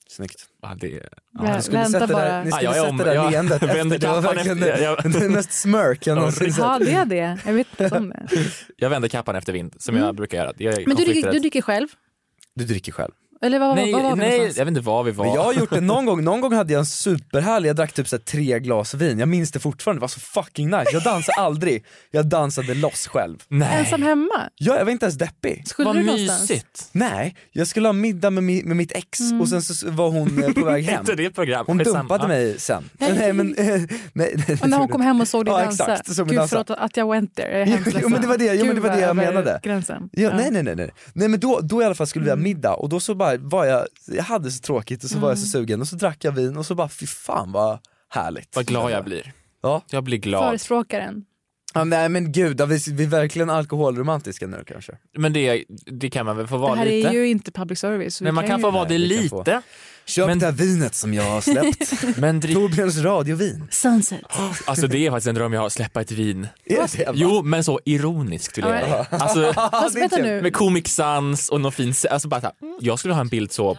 Snyggt.
Ja, det, ja.
Vä-
Ni skulle
vänta
sätta
bara.
det, ni
Ja,
skulle
jag är
sätta
om-
det där
jag
leendet
vänder
efter, det var
kappan
verkligen
efter- jag-
det, det är mest smörk jag någonsin
Ja,
sett.
det är det. Jag vet inte om det.
Jag vänder kappan efter vind, som jag brukar göra. Jag är
Mm. Men du dricker,
konflikträdd.
du dricker själv?
Du dricker själv.
Eller vad,
nej,
vad, vad var vi
nej, jag vet
någonstans?
inte var vi var.
Men jag har gjort det någon gång, någon gång hade jag en superhärlig, jag drack typ så här tre glas vin, jag minns det fortfarande, det var så fucking nice. Jag dansade aldrig, jag dansade loss själv.
Ensam hemma?
Ja, jag var inte ens deppig.
Skulle Vad du någonstans? mysigt.
Nej, jag skulle ha middag med, mi- med mitt ex
Mm.
och sen så s- var hon eh, på väg hem.
Inte det program,
Hon
skitsamma.
dumpade mig sen.
Nej.
Nej men, eh, nej, nej,
Och när hon kom hem och såg dig
Ja,
dansa.
exakt, såg mig
Gud
dansa.
förlåt att jag went there. Jag är
Jo,
hemskt
jo, men det var det, jo, men
Gud,
det var det jag
vad över
menade.
Gränsen.
Ja, Nej nej nej nej. Nej men då, då i alla fall skulle vi ha
Mm.
middag och då så bara var jag, jag hade så tråkigt och så var jag så
Mm.
sugen och så drack jag vin och så bara fy fan vad härligt.
Vad glad jag blir.
Ja.
Jag blir glad.
Förespråkaren.
Ja, nej men gud, ja, vi, vi är verkligen alkoholromantiska nu kanske.
Men det, det kan man väl få
Det
vara
här
lite?
är ju inte public service. vi
Men man kan
ju-
få vara det lite.
Köp det här vinet som jag har släppt.
Men drick...
Torbjörns radiovin.
Sunset.
Alltså det är faktiskt en dröm jag har, släppa ett vin.
Är det, va?
Jo, men så ironiskt vill jag
Ja.
göra. alltså,
Fast Det är vänta kul. nu.
Med Comic Sans och någon fin... Alltså bara så här, jag skulle ha en bild så...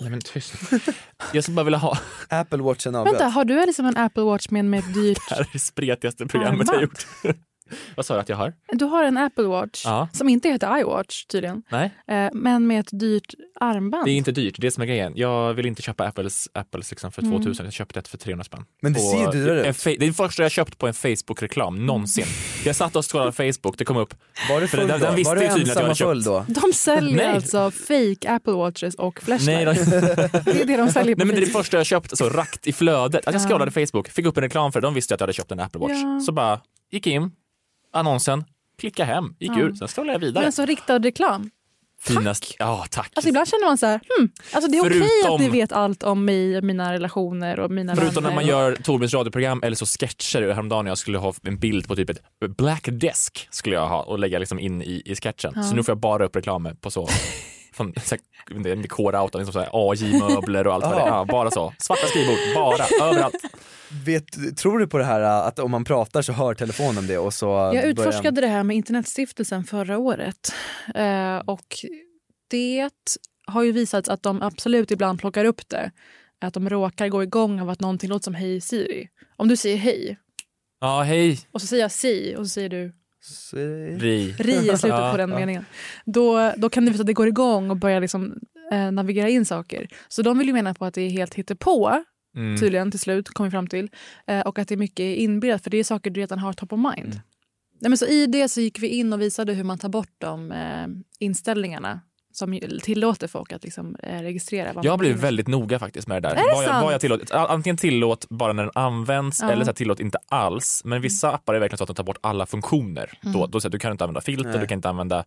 Nej men tyst. Jag skulle bara vilja ha...
Apple Watchen
Vänta, har du liksom en Apple Watch med, med ett dyrt...
Det här är det spretigaste programmet jag har gjort. Vad sa du att jag har?
Du har en Apple Watch
Ja.
som inte heter iWatch tydligen.
Nej,
Eh, Men med ett dyrt armband.
det är inte dyrt. Det är det som är grejen. Jag vill inte köpa Apples, Apples liksom för
Mm.
2000. Jag köpte ett för 300 spänn.
Men det
På-
ser ju dyrare
en
ut.
fa- Det är det första jag köpt på en Facebook-reklam någonsin. Jag satt och scrollade Facebook, det kom upp.
Var du
För
full
den- den
då?
visste
Var du
ju tydligen att jag
ensam
hade
och full
köpt.
då?
De säljer
Nej.
alltså fake Apple Watches och
Nej, de-
flashlights. det är det de säljer på
Nej, men det är det
Facebook.
första jag köpt, så rakt i flödet. Att jag
Ja.
scrollade Facebook, fick upp en reklam för det, de visste att jag hade köpt en Apple Watch.
Ja.
Så bara gick in, annonsen, klicka hem, gick
Ja.
ur, sen scrollade jag vidare.
Men alltså riktad reklam.
Finast... Ja, tack.
Alltså ibland känner man så här, hmm, alltså det är okej att
Förutom-
ni vet allt om mig, mina relationer och mina
Förutom när
vänner.
man gör Torbjörns radioprogram eller så sketcher. Häromdagen när jag skulle ha en bild på typ ett black desk skulle jag ha och lägga liksom in i, i sketchen.
Ja.
Så nu får jag bara upp reklam på så. Från så här, det är inte core-out, liksom så här AJ-möbler och allt vad det är.
Ja.
Ja, bara så. Svarta skrivbord, bara, överallt.
Vet, tror du på det här äh, att om man pratar så hör telefonen det och så
Jag
börjar-
utforskade det här med Internetstiftelsen förra året. Eh, och det har ju visats att de absolut ibland plockar upp det. Att de råkar gå igång av att någonting låter som Hej Siri. Om du säger hej
Ja, hej.
och så säger jag si och så säger du
Ri.
ri i slutet
Ja,
på den
ja.
meningen. Då, då kan det visa att det går igång och börjar liksom, eh, navigera in saker. Så de vill ju mena på att det är helt hittepå
Mm.
tydligen till slut, kom vi fram till. Eh, och att det är mycket inbillat, för det är saker du redan har top of mind.
Mm.
Nej, men så I det så gick vi in och visade hur man tar bort de eh, inställningarna som ju tillåter folk att liksom, eh, registrera. Vad
Jag har
man
blivit väldigt noga faktiskt med det där.
Är det
vad, jag,
sant?
vad jag tillåter. Antingen tillåt bara när den används
Ja.
eller så här, tillåt inte alls. Men vissa appar är verkligen så att de tar bort alla funktioner. Då,
Mm.
då, så här, du kan inte använda filter,
Nej.
du kan inte använda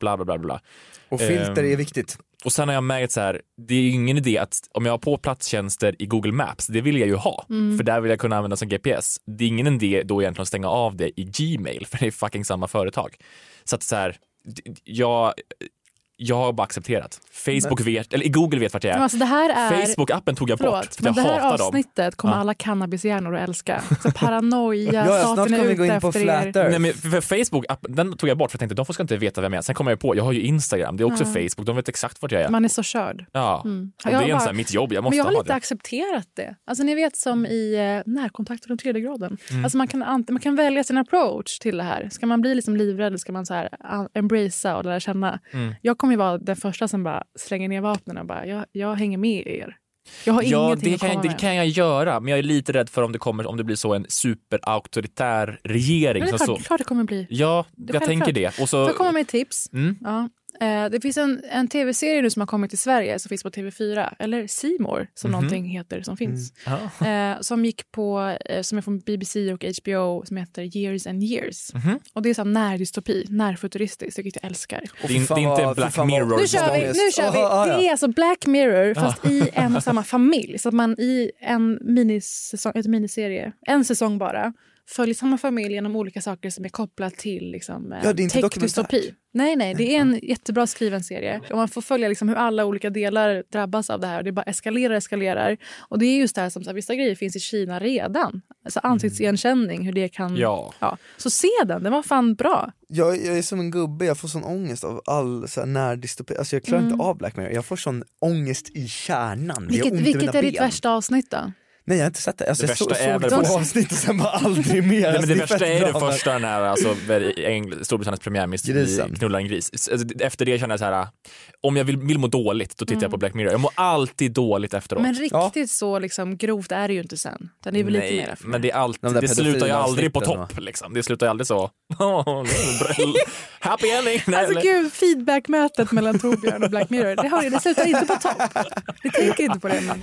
bla bla bla. bla.
Och filter
Ehm,
är viktigt.
Och sen har jag märkt så här, det är ju ingen idé att om jag har på platstjänster i Google Maps, det vill jag ju ha,
Mm.
för där vill jag kunna använda som GPS. Det är ingen idé då egentligen att stänga av det i Gmail, för det är fucking samma företag. Så att så här, d- d- jag, jag har bara accepterat. Facebook vet, eller Google vet vart jag är.
Men alltså det här är-
Facebook-appen tog jag bort,
Förlåt,
för
men
att
det
jag
här
hatar dem.
avsnittet kommer
Ja.
alla cannabishjärnor att älska. Så paranoia,
Ja, ja, snart
staten är
kommer vi gå
ute
in på
efter
flat
er.
earth.
Nej, men för för Facebook, app- den tog jag bort för jag tänkte de får ska inte veta vem jag är. Sen kom jag ju på, jag har ju Instagram, det är också
Ja.
Facebook, de vet exakt vart jag är.
Man är så körd.
Ja,
Mm.
och det
Jag
är en
bara-
så här, mitt jobb, jag
men
måste
jag har
ha
lite
det.
accepterat det. Alltså ni vet som i eh, närkontakt och den tredje graden.
Mm.
Alltså man kan, ant- man kan välja sin approach till det här. Ska man bli liksom livrädd eller ska man så här an- embracea och lära känna?
Mm.
Jag kommer ju vara den första som bara slänger ner vapnen och bara jag, jag hänger med er. Jag har
ja,
ingenting
det
att
kan,
komma
jag, det
med.
kan jag göra, men jag är lite rädd för om det, kommer, om det blir så en superauktoritär regering.
Men det
som
är klart,
liksom så,
klart det kommer bli.
ja,
Det är
jag tänker
självklart.
det. Och
Får
så,
jag komma med ett tips?
Alltså, Mm.
Ja. Eh, Det finns en, en tv-serie nu som har kommit till Sverige som finns på TV4, eller Simor som
Mhm.
någonting heter som finns.
Ja.
Eh, som gick på, eh, som är från BBC och HBO som heter Years and Years.
Mhm.
Och det är så här närdystopi, närfuturistiskt, vilket jag älskar.
Det är inte- det är inte
Fan,
Black
fan vad-
Mirror.
Nu kör vi! Nu kör vi. Det är alltså Black Mirror fast
Ja.
i en och samma familj. Så att man i en minisäsong, ett miniserie, en säsong bara följer samma familj genom olika saker som är kopplat till liksom, eh,
Ja, det är inte
tech-dystopi.
dokumentärt.
Nej, nej, det är en jättebra skriven serie. Och man får följa liksom hur alla olika delar drabbas av det här. Och det bara eskalerar, eskalerar. Och det är just det här som så här, vissa grejer finns i Kina redan. Alltså ansiktsigenkänning, hur det kan...
Mm. Ja.
Så se den, den var fan bra.
Jag, jag är som en gubbe, jag får sån ångest av all så här närdystopi. Alltså jag klarar
Mm.
inte av Black Mirror, jag får sån ångest i kärnan. Det gör
Vilket,
ont i
vilket
mina
är ditt
ben.
värsta avsnitt då?
Nej jag har inte sett det. Alltså,
Det
jag så,
värsta är
såg
väl
två
på-
avsnitt och sen bara aldrig mer.
Nej,
Alltså,
men
det är
det värsta
fett
är
bra,
den
men-
första när alltså, Engl- Storbritanniens premiärminister
Grisen.
knullar en gris. Alltså, efter det känner jag så här, om jag vill, vill må dåligt då tittar
Mm.
jag på Black Mirror. Jag mår alltid dåligt efteråt.
Men riktigt så liksom, grovt är det ju inte sen. Utan det är väl
Nej,
lite mer efter.
men det, är alltid,
där
det slutar ju
pedofila
aldrig på
avsnitten,
topp. Liksom. Det slutar ju aldrig så. Happy ending! Nej,
Alltså
eller-
gud, feedbackmötet mellan Torbjörn och Black Mirror, det, har, det slutar inte på topp. Vi tänker inte på det. Men...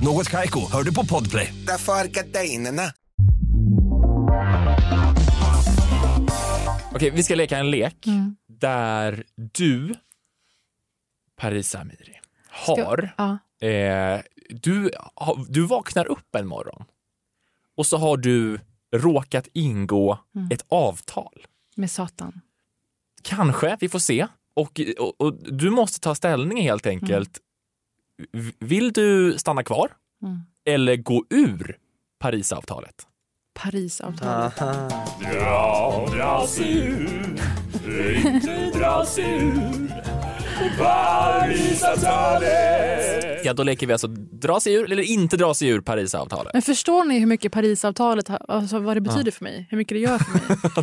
Något Kaiko, hör du på Podplay.
Därför är gardinerna.
Okej, vi ska leka en lek där du, Paris Amiri, har...
Ja.
Eh, du, har- du vaknar upp en morgon och så har du råkat ingå
Mm.
ett avtal.
Med Satan.
Kanske, vi får se. Och, och, och du måste ta ställning helt enkelt. V- Vill du stanna kvar
Mm.
eller gå ur Parisavtalet?
Parisavtalet.
Dra, dra sig ur,
inte
dra sig ur Parisavtalet. Ja, då leker vi alltså dra sig ur eller inte dra sig ur Parisavtalet.
Men förstår ni hur mycket Parisavtalet, har- alltså vad det betyder
Ja.
för mig? Hur mycket det gör för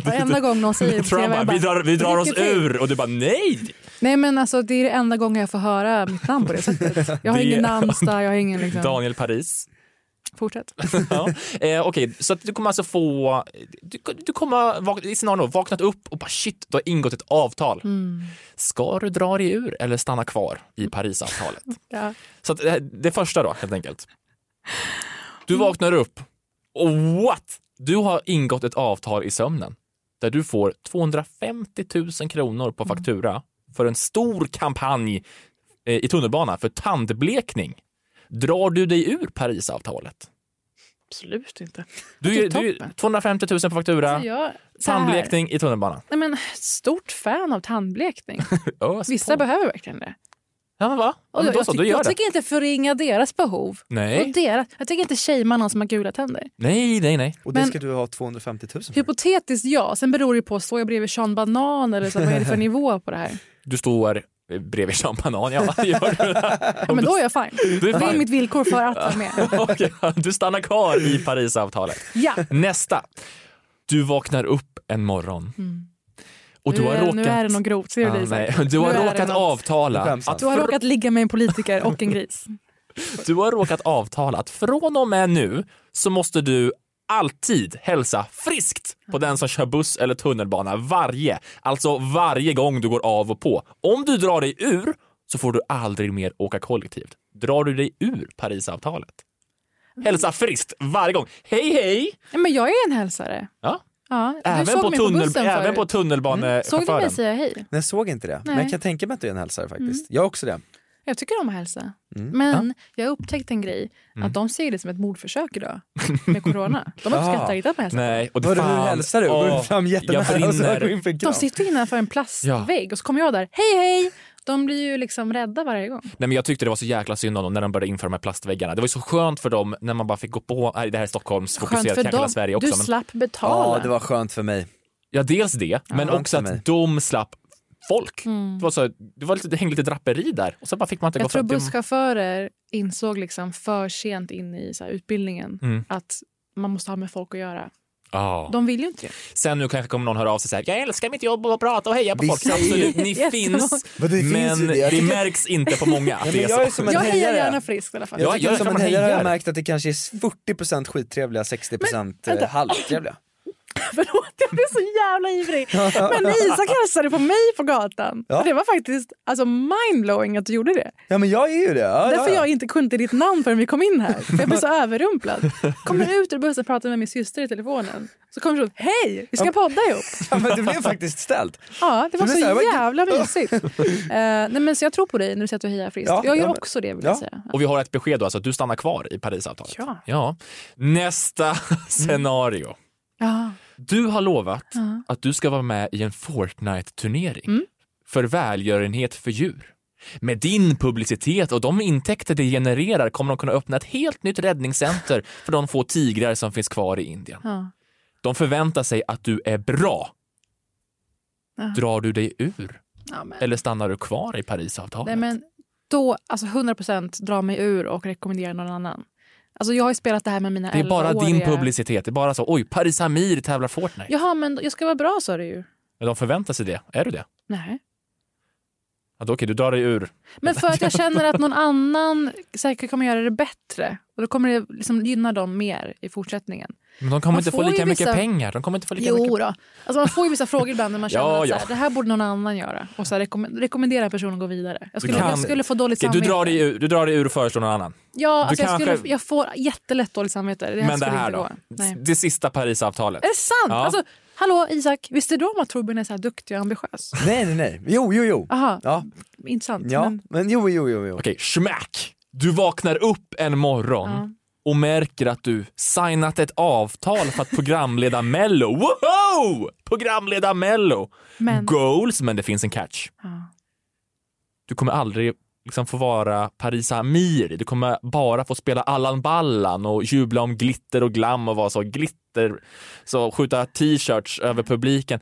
mig? Varenda gång någon säger det på
Trump
TV,
bara,
jag bara,
vi drar, vi drar oss
"Lycka till."
ur och du bara nej.
Nej men alltså det är det enda gången jag får höra mitt namn på det sättet. Jag har
Det-
ingen namnsdag, jag har ingen liksom...
Daniel Paris.
Fortsätt.
ja. eh, Okej, så att du kommer alltså få, du, du kommer vak- i scenario vaknat upp och bara shit, du har ingått ett avtal.
Mm.
Ska du dra dig ur eller stanna kvar i Parisavtalet?
Ja.
Så att det, här- det första då, helt enkelt. Du vaknar upp och what? Du har ingått ett avtal i sömnen där du får 250 000 kronor
Mm.
på faktura för en stor kampanj eh, i tunnelbana för tandblekning. Drar du dig ur Parisavtalet?
Absolut inte.
Du,
Det är
du,
toppen.
250 000 på faktura,
Så jag, så här-
tandblekning i tunnelbanan.
Nej men stort fan av tandblekning.
Ös
Vissa behöver verkligen det.
Ja men va? Ja,
Och
men
jag,
då
jag,
så,
tycker-
du gör
jag
det.
tänker inte förringa deras behov.
Nej.
Och deras, jag tänker inte shamea någon som har gula tänder.
Nej, nej, nej.
Och det
Men-
ska du ha 250 000 för.
Hypotetiskt ja, sen beror det ju på, står jag bredvid Sean Banan eller så, vad är det för nivå på det här?
Du står eh, bredvid Sean Banan, ja, vad gör du?
Ja, men då är jag fine.
Du är
Det är
fine.
mitt villkor för att vara med.
Okej, du stannar kvar i Parisavtalet.
Ja.
Nästa. Du vaknar upp en morgon
Mm.
och du
nu,
har
är,
råkat...
nu är det något grovt, ser du
Ah,
det? Isak?
nej. Du har
Nu är det
råkat
något.
avtala att,
Du alltså. har råkat ligga med en politiker och en gris.
du har råkat avtala att från och med nu så måste du alltid hälsa friskt på den som kör buss eller tunnelbana varje, alltså varje gång du går av och på. Om du drar dig ur så får du aldrig mer åka kollektivt. Drar du dig ur Parisavtalet? Hälsa friskt varje gång. Hej, hej!
Ja, Men jag är en hälsare.
Ja.
Ja, du
Även,
såg
på,
mig
tunnel,
bussen
även
förut. Mm.
på
Såg du mig
tunnelbanechauffören.
säga hej?
Nej, jag såg inte det. Men
Nej.
jag kan tänka mig att du är en hälsare faktiskt.
Mm.
Jag är också det.
Jag tycker om att hälsa.
Mm.
Men jag har upptäckt en grej,
Mm.
att de ser det som ett mordförsök idag med corona. De uppskattar inte att man hälsar.
Nej, och det
Hörru,
fan,
hur hälsar du? Går
åh,
du fram jättenära
jag
och så
brinner.
går du in för en kram?
De sitter innanför en plastvägg och så kommer jag där, hej hej! De blir ju liksom rädda varje gång.
Nej, men jag tyckte det var så jäkla synd om dem när de började införa de här plastväggarna. Det var ju så skönt för dem när man bara fick gå på, nej, det här är Stockholms
Skönt
fokuserat,
för
kanske hela
dem.
Sverige också.
du
men-
slapp betala.
var skönt för mig.
Ja, dels det, men
Skönt
också
för mig.
att de slapp folk.
Mm.
Det, var så, det, var lite, det hängde lite draperi där och så bara fick man inte gå
Jag tror
fram. till-
busschaufförer insåg liksom för sent in i så här utbildningen
Mm.
att man måste ha med folk att göra.
Ja.
De vill ju inte det.
Sen nu kanske kommer någon höra av sig så här, jag älskar mitt jobb och prata och heja på
Vi
folk.
säger-
Absolut, ni
Jättemånga.
finns,
Men det finns
men
ju det.
det,
Jag tycker-
märks inte på många att
Nej,
det
men jag
är
är
så.
som en
jag hejar
hejare.
gärna friskt i alla fall.
Jag tycker som en hejare har jag
hejare.
märkt att det kanske är 40 skittrevliga, 60
Men, vänta.
halvtrevliga.
Förlåt, jag blir så jävla ivrig. Men Isak hälsade på mig på gatan.
Ja.
Och det var faktiskt alltså, mindblowing att du gjorde det.
Ja men jag är ju det. Ja,
Därför
ja.
jag inte kunde ditt namn förrän vi kom in här. För jag blev så överrumplad. Kommer ut ur bussen och pratar med min syster i telefonen. Så kommer hon hej, vi ska
Ja.
podda ihop.
Ja, men det blev faktiskt ställt.
Ja, det var
Det
så
blir så här, vad-
jävla mysigt. Eh, nej, men så jag tror på dig när du säger att du hejar friskt.
Ja,
jag gör
ja, men-
också det vill
Ja.
jag säga.
Och vi har ett besked då, alltså att du stannar kvar i Parisavtalet.
Ja.
ja. Nästa scenario.
Ja.
Du har lovat
Ja.
att du ska vara med i en Fortnite-turnering
Mm.
för välgörenhet för djur. Med din publicitet och de intäkter det genererar kommer de kunna öppna ett helt nytt räddningscenter för de få tigrar som finns kvar i Indien.
Ja.
De förväntar sig att du är bra.
Ja.
Drar du dig ur?
Ja, men-
Eller stannar du kvar i Parisavtalet?
Nej, men då, alltså 100 procent dra mig ur och rekommendera någon annan. Alltså jag har ju spelat det här med mina
Det är bara din
11-åriga.
publicitet. Det är bara så, oj, Paris Amir tävlar Fortnite.
Jaha, men jag ska vara bra sa du ju.
Men de förväntar sig det. Är du det?
Nej.
Ja, då, okej, du drar dig ur.
Men för att jag känner att någon annan säkert kommer göra det bättre. Och då kommer det liksom gynna dem mer i fortsättningen.
Men de kommer
Man
inte få
får ju
lika mycket
vissa-
pengar. De kommer inte få lika
jo
mycket...
då. Alltså man får ju vissa frågor ibland när man känner
Ja,
att så
ja.
här, det här borde någon annan göra. Och så här, rekomm- rekommendera en person att gå vidare. Jag
Du
skulle, jag skulle få dåligt
Okej,
samvete.
Du drar, dig ur, du drar dig ur och föreslår någon annan.
Ja,
Du
alltså jag,
kanske-
skulle, jag får jättelätt dåligt samvete. Det här
Men det
skulle
här
inte
då?
Gå. Nej.
Det sista Parisavtalet.
Är det sant?
Ja.
Alltså, hallå Isak, visste du om att Torbjörn är så här duktig och ambitiös?
Nej nej nej. Jo jo jo.
Aha.
Ja.
Intressant.
Ja,
Ah. Men,
men, jo, jo, jo, jo.
Okej, schmack! Du vaknar upp en morgon och märker att du signat ett avtal för att programleda Mello. Woho! Programleda Mello!
Men-
Goals, men det finns en catch.
Ja.
Du kommer aldrig liksom få vara Parisa Amiri. Du kommer bara få spela Allan Ballan och jubla om glitter och glam och vara så glitter, så skjuta t-shirts över publiken.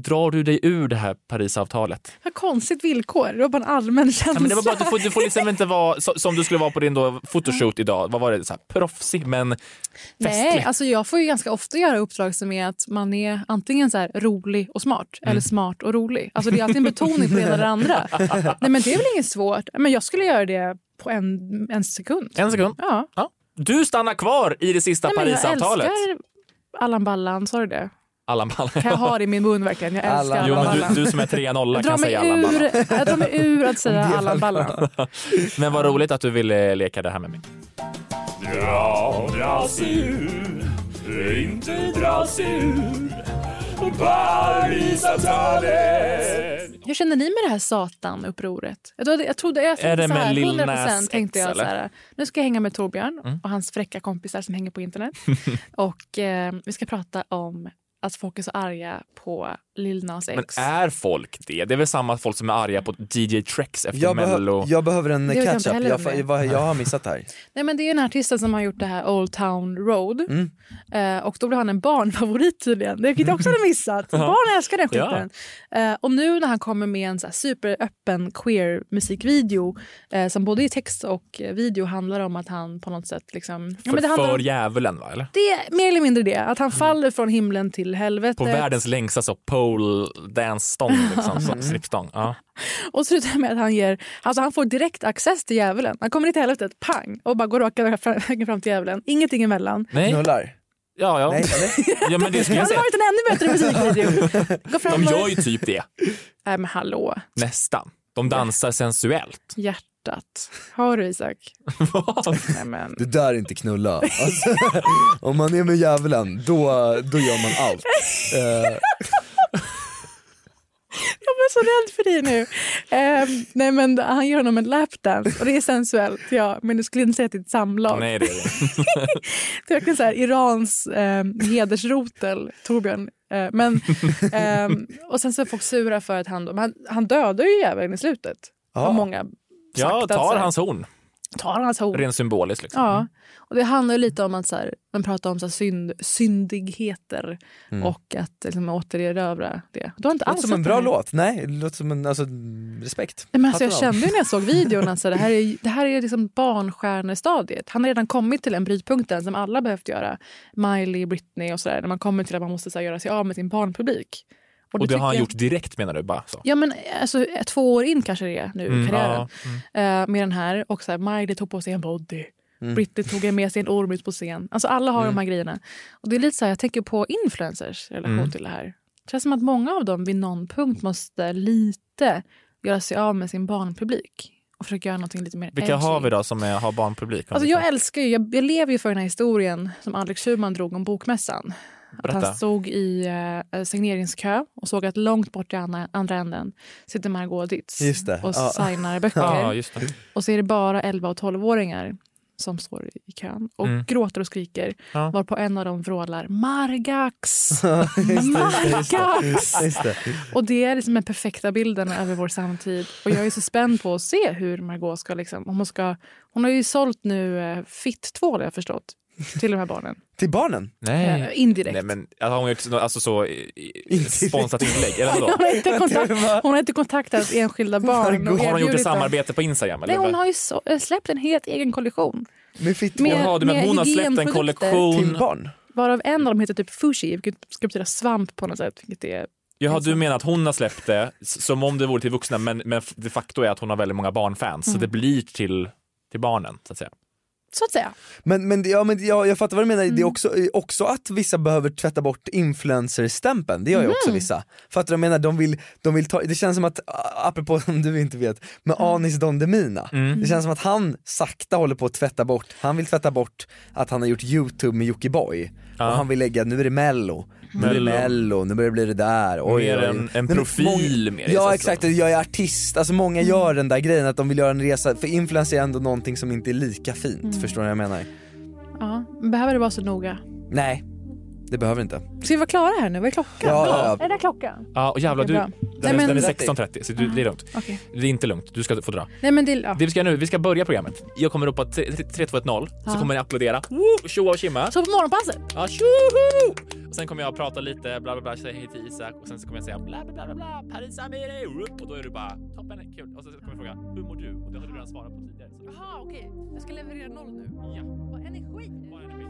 Drar du dig ur det här Parisavtalet?
vad konstigt villkor. Det var bara en allmän känsla.
Ja, men det var bara, du, får, du får liksom inte vara så, som du skulle vara på din då photoshoot idag. Vad var det? Så här, proffsig men
Nej,
festlig.
alltså jag får ju ganska ofta göra uppdrag som är att man är antingen så här rolig och smart
Mm.
eller smart och rolig. Alltså det är alltid en betoning på det ena eller det andra. Nej, men det är väl inget svårt. Men jag skulle göra det på en, en sekund.
En sekund.
Ja.
Du stannar kvar i det sista
Nej, men jag
Parisavtalet.
älskar Allan Ballan, sa du det?
Allan Ballan.
Kan jag ha det i min mun verkligen? Jag älskar Allan
Jo, men
Ballan.
du, du som är 3-0
Jag
kan
drar, mig
säga Allan Ballan.
ur, jag drar mig ur att säga Allan Ballan.
Men vad roligt att du ville leka det här med mig.
Dra, dra sig ur, inte dra sig ur Parisavtalet
Hur känner ni med det här satanupproret? Jag trodde, jag, trodde, jag
Är det
så här,
med Lil
100%
Nas X,
tänkte jag så här,
eller?
nu ska jag hänga med Torbjörn
Mm.
och hans fräcka kompisar som hänger på internet. och eh, vi ska prata om att folk är så arga på Lil Nas
Men
X.
är folk det? Det är väl samma folk som är arga på DJ Trex efter
Jag, behö-
Mello?
jag behöver en
Det vet jag
catch
inte
up.
heller
Jag,
om
fa-
det.
vad- jag har missat det här.
Nej, men det är ju den här artisten som har gjort det här Old Town Road.
Mm.
Eh, och då blev han en barnfavorit tydligen. Det fick jag också hade missat.
Ja.
Barn älskar den skiten. Eh, och nu när han kommer med en så här superöppen queer musikvideo eh, som både i text och eh, video handlar om att han på något sätt liksom...
För,
men det, handlar
för
om,
djävulen va? Eller?
det är mer eller mindre det. Att
Mm.
han faller från himlen till helvetet.
På världens längsta så pole dance stång liksom, så,
Mm.
slipstång. Ja.
Och slutar med att han ger, alltså han får direkt access till djävulen. Han kommer ner till helvetet, pang, och bara går raka vägen fram till djävulen. Ingenting emellan.
Nej.
Knullar?
Ja, ja. ja men det
Det
skulle jag
hade
säga.
varit en ännu bättre musikvideo. Gå fram
De
och-
gör ju typ det,
Nej men hallå,
nästan. De dansar sensuellt.
hjärtat. Har du Isak?
Det där är inte knulla. Alltså, om man är med djävulen, då, då gör man allt. Eh,
Jag blir så rädd för dig nu. Ehm, nej men han gör honom en lapdance och det är sensuellt ja, men du skulle inte säga att det är ett samlag.
Nej, det är det.
Det är verkligen så här, Irans eh, hedersrotel, Torbjörn. Eh, men, ehm, och sen så är folk sura för att han, men han, han dödar ju djävulen i slutet.
Ja.
Har många sagt
Ja,
att så
tar
här-
hans horn.
Tar hans horn.
Rent symboliskt. Liksom.
Mm.
Ja, och det handlar ju lite om att så här, man pratar om så här synd, syndigheter
Mm.
och att liksom, återerövra det. Du har inte
det låter
alls
som en
sett
bra
den här.
låt. Nej, det låter som en, alltså respekt.
Nej, men alltså, jag
Hatten av.
kände ju när jag såg videon att alltså, det här är, det här är liksom barnstjärnestadiet. Han har redan kommit till den brytpunkten som alla behövt göra. Miley, Britney och sådär. När man kommer till att man måste så här, göra sig av med sin barnpublik.
Och det
tycker
har han
jag-
gjort direkt menar du? Bara så.
Ja, men alltså, eh, två år in kanske det är nu i
Mm,
karriären.
ja,
Eh, med den här. Och så här, Miley tog på sig en body.
Mm.
Britney tog med sig en orm ut på scen. Alltså alla har
Mm.
de här grejerna. Och det är lite så här, jag tänker på influencers i relation
Mm.
till det här. Det känns som att många av dem vid någon punkt måste lite göra sig av med sin barnpublik. Och försöka göra någonting lite mer
Vilka har
edgy.
vi då som är, har barnpublik?
Alltså jag älskar ju, jag, jag lever ju för den här historien som Alex Schulman drog om bokmässan. Att
Berätta.
han stod i eh, signeringskö och såg att långt bort i andra, andra änden sitter Margot Ditz
Just det.
och
Ja.
signar böcker.
Ja, just det.
Och så är det bara 11 och 12-åringar som står i kön och
Mm.
gråter och skriker
Ja.
varpå en av dem vrålar Margax!
Just det, just det,
Margax!
just det.
Och det är liksom den perfekta bilden över vår samtid. Och jag är så spänd på att se hur Margot ska... Liksom, om hon, ska hon har ju sålt nu eh, fitt-tvål har jag förstått, till de här barnen.
Till barnen?
Nej.
Eh, indirekt.
Nej, men alltså, har hon gjort så- alltså, så i- i- sponsrat inlägg? Eller vadå?
Hon har inte, kontakt, hon har inte kontaktat enskilda barn. och
Har hon gjort ett
erbjudit dem.
samarbete på Instagram? Eller?
Nej, hon har ju så, eh, släppt en helt egen kollektion.
Med
Med-
Jaha, du menar
med
hon har släppt en
hygienprodukter.
kollektion?
Till
barn?
Varav en av dem heter typ Fushi, vilket ska betyda svamp på något sätt. Vilket är,
Jaha, du menar att hon har släppt det s- som om det vore till vuxna, men, men f- de facto är att hon har väldigt många barnfans, så
Mm.
det blir till, till barnen, så att säga.
så att säga.
Men, men, ja, men jag, jag fattar vad du menar, det
Mm.
är också, också att vissa behöver tvätta bort influencerstämpeln, det gör ju också
Mhm.
vissa. Fattar du vad jag menar? De vill, de vill ta, det känns som att, a- apropå om du inte vet, med
Mm.
Anis Don Demina,
Mm.
det känns som att han sakta håller på att tvätta bort, han vill tvätta bort att han har gjort youtube med Jockiboi och han vill lägga, nu är det mello, nu är det
Mello.
mello, nu börjar det bli det där. Oj,
Mer
oj, oj.
en- en
Nej, men
profil
många-
mer, så
Ja
att
exakt, jag är artist, alltså många
Mm.
gör den där grejen att de vill göra en resa, för influencer är ändå någonting som inte är lika fint,
Mm.
förstår du vad jag menar?
Ja, behöver det vara så noga?
Nej, det behöver inte.
Ska vi vara klara här nu? Vad är klockan?
Ja, ja, ja.
Är det där klockan?
Ja, och jävlar,
Det
du,
är
den,
bra.
är-
Nej, men-
den är 16.30, så du, det är lugnt.
Okej.
Det är inte lugnt, du ska få dra.
Nej, men det, ja.
Det vi ska göra nu, vi ska börja programmet. Jag kommer ropa tre- tre- 3, 2, 1, 0, så
Ja.
kommer ni applådera. Woo! Tjo och tjimma.
Så på morgonpasset?
Ja, tjoho! Och sen kommer jag prata lite, bla bla bla, säga hej till Isak och sen så kommer jag säga bla bla bla bla, bla Paris Amiri, och då är du bara toppen, kul. Och sen så kommer jag fråga, hur mår du? Och det har du redan svarat på tidigare. Så.
Jaha, okej. Jag ska leverera noll nu.
Ja.
Vad energi!
Vad energi.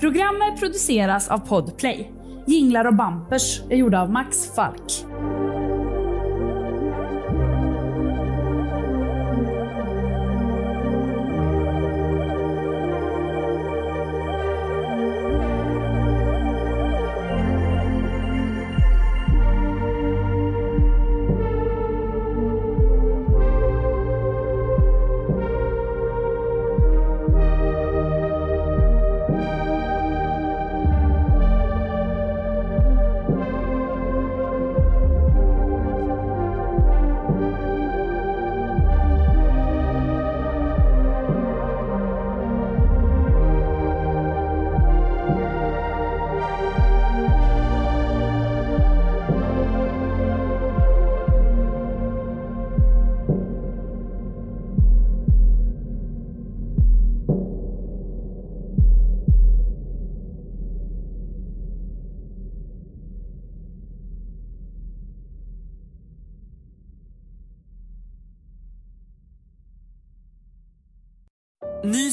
Programmet produceras av Podplay. Jinglar och bampers är gjorda av Max Falk.
Ny